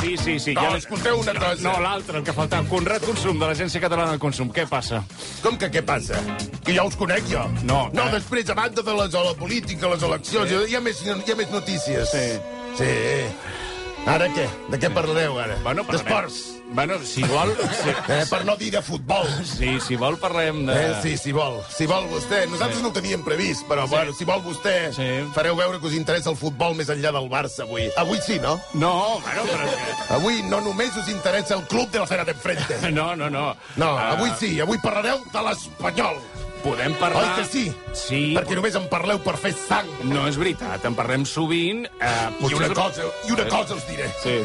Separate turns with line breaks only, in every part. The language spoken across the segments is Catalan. Sí, sí, sí.
No, escolteu una cosa.
No, l'altre, el que faltava. Conrad Consum, de l'Agència Catalana del Consum. Què passa?
Com que què passa? Que ja els conec, jo.
No,
no
eh.
després, a banda de les, a la política, les eleccions, sí. hi, ha més, hi ha més notícies.
Sí.
Sí. Ara què? De què parlareu, ara?
Bueno, parlarem.
D'esports.
Bueno, si vol... Sí,
Eh, per no dir de futbol.
sí, si vol parlem de...
Eh, sí, si vol. Si vol vostè. Nosaltres
Sí.
sí. no ho teníem previst, però, sí. bueno, si vol vostè,
Sí.
sí. fareu veure que us interessa el futbol més enllà del Barça avui. Avui sí, no?
No, bueno, però... és que-
Avui no només us interessa el club de la Cera d'Enfrente.
No, no, no.
No,
Ah,
avui sí, avui parlareu de l'Espanyol.
Podem parlar...
Oi que sí?
Sí.
Perquè només en parleu per fer sang.
No, és veritat, en parlem sovint. Eh,
I una cosa, i una cosa us diré.
Sí,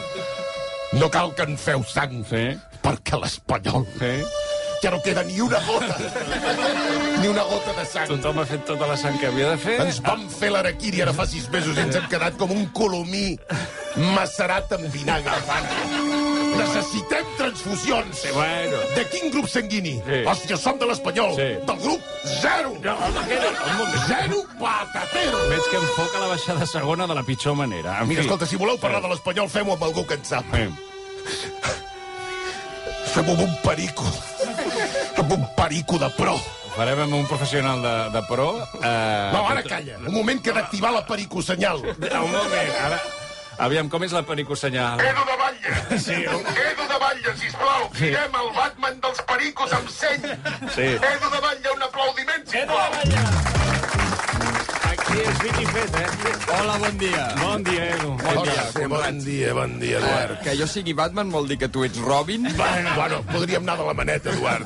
No cal que en feu sang,
Sí.
perquè l'Espanyol
sí.
ja no queda ni una gota. ni una gota de sang.
Tothom ha fet tota la sang que havia de fer.
Ens vam fer l'araquiri ara fa sis mesos i ens hem quedat com un colomí macerat amb vinagre. Necessitem transfusions.
Sí, bueno.
De quin grup sanguini?
Sí.
Hòstia, som de l'Espanyol.
Sí.
Del grup zero.
No, home, que no, un moment.
Zero patatero.
Veig que enfoca la baixada segona de la pitjor manera. En
Mira,
fi.
escolta, si voleu parlar de l'Espanyol, fem-ho amb algú que en sap.
Sí.
Fem-ho amb un perico. amb un perico de pro.
Ho farem amb un professional de, de pro. Eh,
No, ara calla. Un moment que he d'activar la perico senyal.
Un moment, ara... Aviam, com és la pericosenyal?
Edu de Batlle! Sí. Edu de Batlle, sisplau, siguem el Batman dels pericos amb seny.
Sí.
Edu de Batlle, un aplaudiment, sisplau.
Aquí és Vicky Fet, eh?
Hola, bon dia.
Bon dia, Edu. Bon dia.
Hola, bon dia, bon dia, Eduard.
Que jo sigui Batman vol dir que tu ets Robin?
Bueno, bueno, podríem anar de la maneta, Eduard.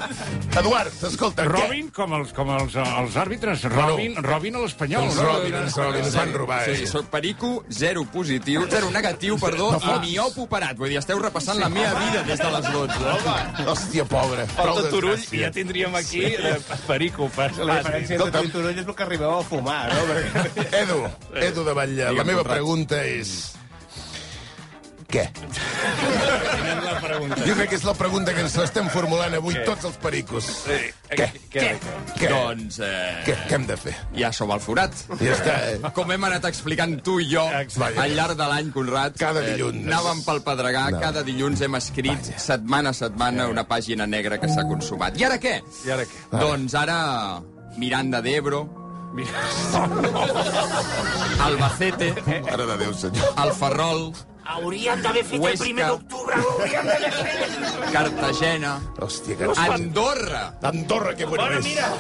Eduard, escolta,
Robin, com els, com els, els àrbitres, Robin, Robin a
què?
Doncs
l'espanyol.
Els
no?
Robin, els Robin, ens van robar,
Sí,
eh?
soc perico, zero positiu, zero negatiu, perdó, i miopo parat. Vull dir, esteu repassant la meva vida des de les 12.
Hòstia, pobre.
Falta
prou
Turull
desgràcia.
i ja tindríem aquí...
Eh, Perico, per...
La diferència entre tu i Turull és el que arribeu a fumar, no? Perquè...
Edu, Edu de Batlle, la meva
Conrad.
pregunta és... Què? Jo crec que és la pregunta que ens l'estem formulant avui tots els pericos.
Eh,
Què?
Què?
Què?
Doncs, eh,
Què, què hem de fer?
ja som al forat.
Ja està, eh?
Com hem anat explicant tu i jo
Exacte.
al llarg de l'any, Conrad,
Cada
eh,
dilluns.
anàvem pel Pedregà,
No.
cada dilluns hem escrit setmana a setmana una pàgina negra que s'ha consumat. I ara què?
I ara què?
Doncs ara Miranda d'Ebro, Albacete,
Mare de Déu, senyor.
el Ferrol,
Hauríem d'haver fet el
Huesca.
primer d'octubre,
oh,
hauríem d'haver fet...
Cartagena,
Hòstia, que...
Andorra,
Andorra, que bueno
Bueno,
és.
mira,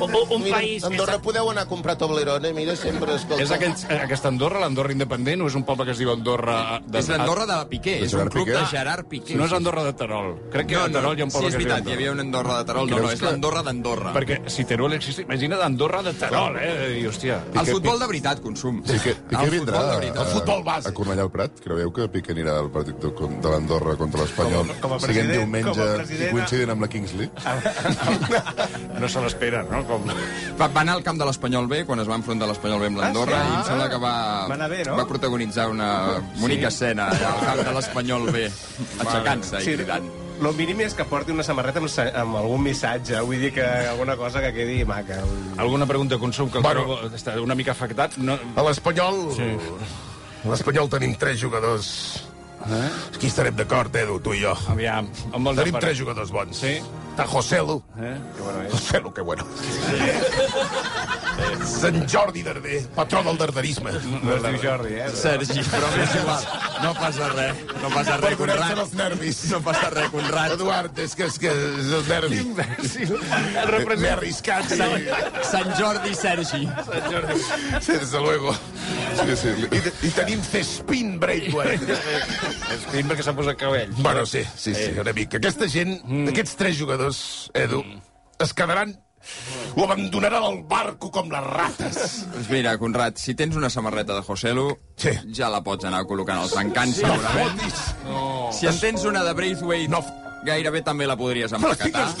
o- o- un
Mira,
país...
a Andorra podeu anar a comprar Toblerone, mira, sempre, escolta.
És aquells, eh, aquesta Andorra, l'Andorra independent, o és un poble que es diu Andorra... eh, De...
és l'Andorra de la Piqué,
Doncs
és un
Gerard
club
Piqué?
de Gerard Piqué.
No és Andorra de Terol. Crec que a Terol hi ha un
sí,
poble
és
que es diu
veritat, hi
Andorra.
havia una Andorra de Terol. No, no, és l'Andorra d'Andorra.
Perquè si Teruel existeix, imagina't Andorra de Terol, eh? I, hòstia...
El futbol de veritat, consum.
Sí, que,
El futbol
Piqué vindrà
de
a,
veritat.
El futbol base.
a Cornellà al Prat. Creieu que Piqué anirà al partit de, de l'Andorra contra l'Espanyol?
Com a- com a
Siguent
president,
diumenge
com a president-
i coincidint amb la Kings League.
No se l'espera, no? Com...
Va, va anar al camp de l'Espanyol B, quan es va enfrontar l'Espanyol B amb l'Andorra,
Ah, sí?
i em sembla que va,
Va anar bé, no?
va protagonitzar una bonica escena allà al camp de l'Espanyol B, aixecant-se i cridant.
Lo mínim és que porti una samarreta amb, sa- amb algun missatge, vull dir que alguna cosa que quedi maca.
Alguna pregunta de consum que el
Bueno.
trobo està una mica afectat? No...
A l'Espanyol... Sí. A l'Espanyol tenim tres jugadors. Eh? Aquí estarem d'acord, Edu, tu i jo.
Aviam, amb els
Tenim tres jugadors bons.
Ah, Sí.
Està Joselu. Eh? Joselu, que bueno. Sant Jordi Darder, patró del darderisme.
No es diu Jordi, eh?
Sergi, però és igual. No passa res. No passa res,
Perdoneu-se
Conrad.
dels nervis.
No passa res, Conrad.
Eduard, és que, és que és el nervi. M'he arriscat. i-
Sant Jordi, Sergi.
Sense luego.
Sí, sí.
I, te- i tenim Cespin Braithwaite.
És prim perquè s'ha posat cabell.
Bueno, sí, sí, sí, una mica. Aquesta gent, aquests tres jugadors, Edu, es quedaran ho abandonaran al barco com les rates.
Doncs mira, Conrad, si tens una samarreta de Joselu,
Sí.
ja la pots anar col·locant als encants,
No
segurament.
fotis!
Si en tens una de Braithwaite,
No,
gairebé també la podries
Però
emplacatar.
tinc les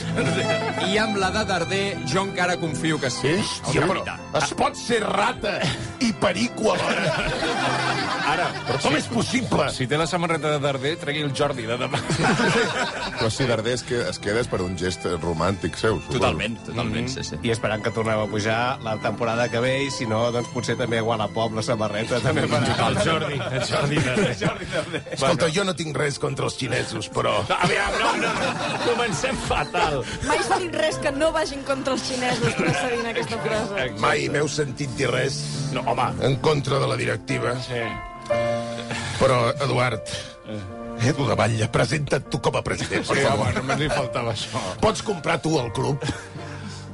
dues!
I amb la de Darder, jo encara confio que sí.
Hòstia, però es pot ser rata i perico alhora. Ara, però com és possible?
Si té la samarreta de Darder, tregui el Jordi de demà.
Però si Darder es, que, es queda és per un gest romàntic seu. suposo.
Totalment, totalment, sí,
Mm.
sí.
I esperant que tornem a pujar la temporada que ve i, si no, doncs potser també a Wallapop la samarreta també per
El Jordi, el Jordi Darder.
Escolta, jo no tinc res contra els xinesos, però...
Aviam, no, no, no. Comencem fatal.
Mai s'ha dit res que no vagin contra els xinesos, però s'ha dit aquesta
Eh,
frase.
Mai m'heu sentit dir res
No, home,
en contra de la directiva.
sí.
Però, Eduard, Edu de Batlle, presenta't tu com a president, per favor.
només li faltava això.
Pots comprar tu el club?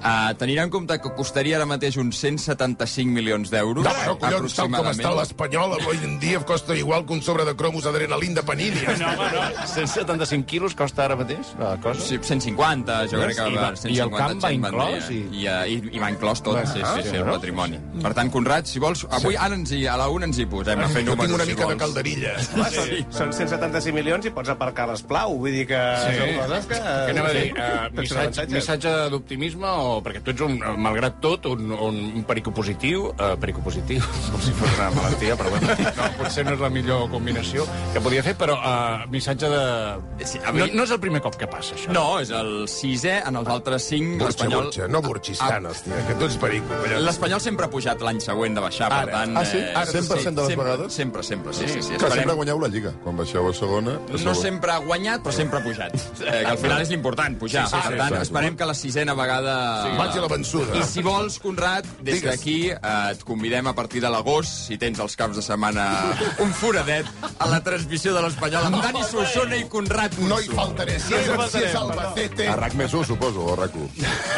Uh, tenint en compte que costaria ara mateix uns 175 milions d'euros,
No, no, collons, tal com està
aproximadament.
l'Espanyol, avui en dia costa igual que un sobre de cromos adrenalin de panini.
No, home, no.
175 quilos costa ara mateix la cosa?
Sí, 150, jo crec que
I va-
va,
i el
150
camp va
gent vendria.
inclòs i-
I, eh, i, i va inclòs tot, sí, sí, sí, el patrimoni. Per tant, Conrad, si vols, avui ara ens hi, a la una ens hi posem a fer
Jo
números,
tinc una
si
mica de
vols.
calderilla.
Sí. Són 175 milions i pots aparcar-les plau. Vull dir que sí. són coses que...
Què anava a dir? Uh,
Tots són
missatge,
avantatges.
missatge d'optimisme o... Perquè tu ets, un, eh, malgrat tot, un, un, un perico positiu. Uh, perico positiu, com si fos una malaltia, però bueno, no, potser no és la millor combinació que podia fer, però uh, missatge de...
Sí, a mi-
No, no és el primer cop que passa, això.
No, és el sisè, en els altres cinc,
Burxa,
l'Espanyol...
burxa, no burxis tant, hòstia, que tu ets perico. collons.
L'Espanyol sempre ha pujat l'any següent de baixar, per
Ara.
tant... eh,
Ah, sí? Ara, 100% de les
sempre,
vegades?
Sempre, sempre, sí, sí. sí.
Que sempre
Esperem-
guanyeu la Lliga. Quan baixeu a segona... a
No
segona.
sempre ha guanyat, però sempre ha pujat. Eh, que al final és l'important, pujar. Sí, sí, per tant,
exacte.
esperem que la sisena vegada...
Vaig a la vençuda.
I si vols, Conrad, des
Digues.
d'aquí eh, et convidem a partir de l'agost, si tens els caps de setmana un foradet, a la transmissió de l'Espanyol amb Dani Solsona i Conrad Curso.
No hi faltaré. Si és, si és Albacete...
A RAC més 1, suposo, o a RAC 1.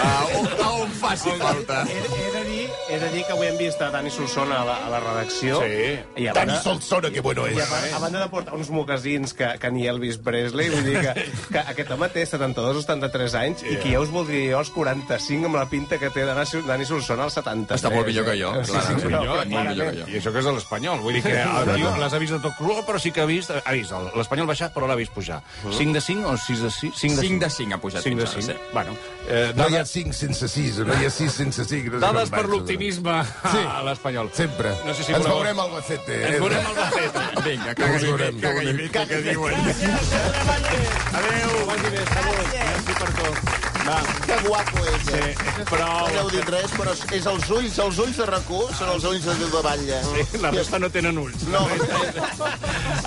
A on, a on faci falta.
He, he, de dir, he de dir que avui hem vist a Dani Solsona a la, a la redacció. Sí. I a
Tan
banda,
sol sona que bueno
i a,
és.
banda- a banda de portar uns mocassins que, que ni Elvis Presley, vull dir que, que aquest home té 72 o 73 anys i que ja us voldria jo als 45 amb la pinta que té Dani Sol- Dani Solsona als 70.
Està molt millor que jo, clar.
sí,
molt
no,
millor, molt millor que jo.
I això que és de l'Espanyol. Vull dir que el tio les ha vist de tot color, però sí que ha vist... Ha vist el- l'Espanyol baixar, però l'ha vist pujar. 5 de 5 o 6 Uh-huh. de 6? 5
5 de 5 ha pujat
5 de
fins
5.
ara, sí.
Bueno, eh,
No hi ha
dades,
5 sense 6, no hi ha 6 sense 5. No sé
dades
com
per
vaig,
l'optimisme
Sí.
a l'Espanyol.
Sempre.
No sé si
Ens
voleu-
veurem al Albacete.
Ens veurem al Bacet.
Vinga,
Que us
caga-hi bé,
veurem.
caga-hi bé, que diuen.
Que guapo és, eh? No
Prou.
heu dit res, però és els ulls, els ulls de rac són els ulls de Déu de Batlle.
La resta no tenen ulls.
No.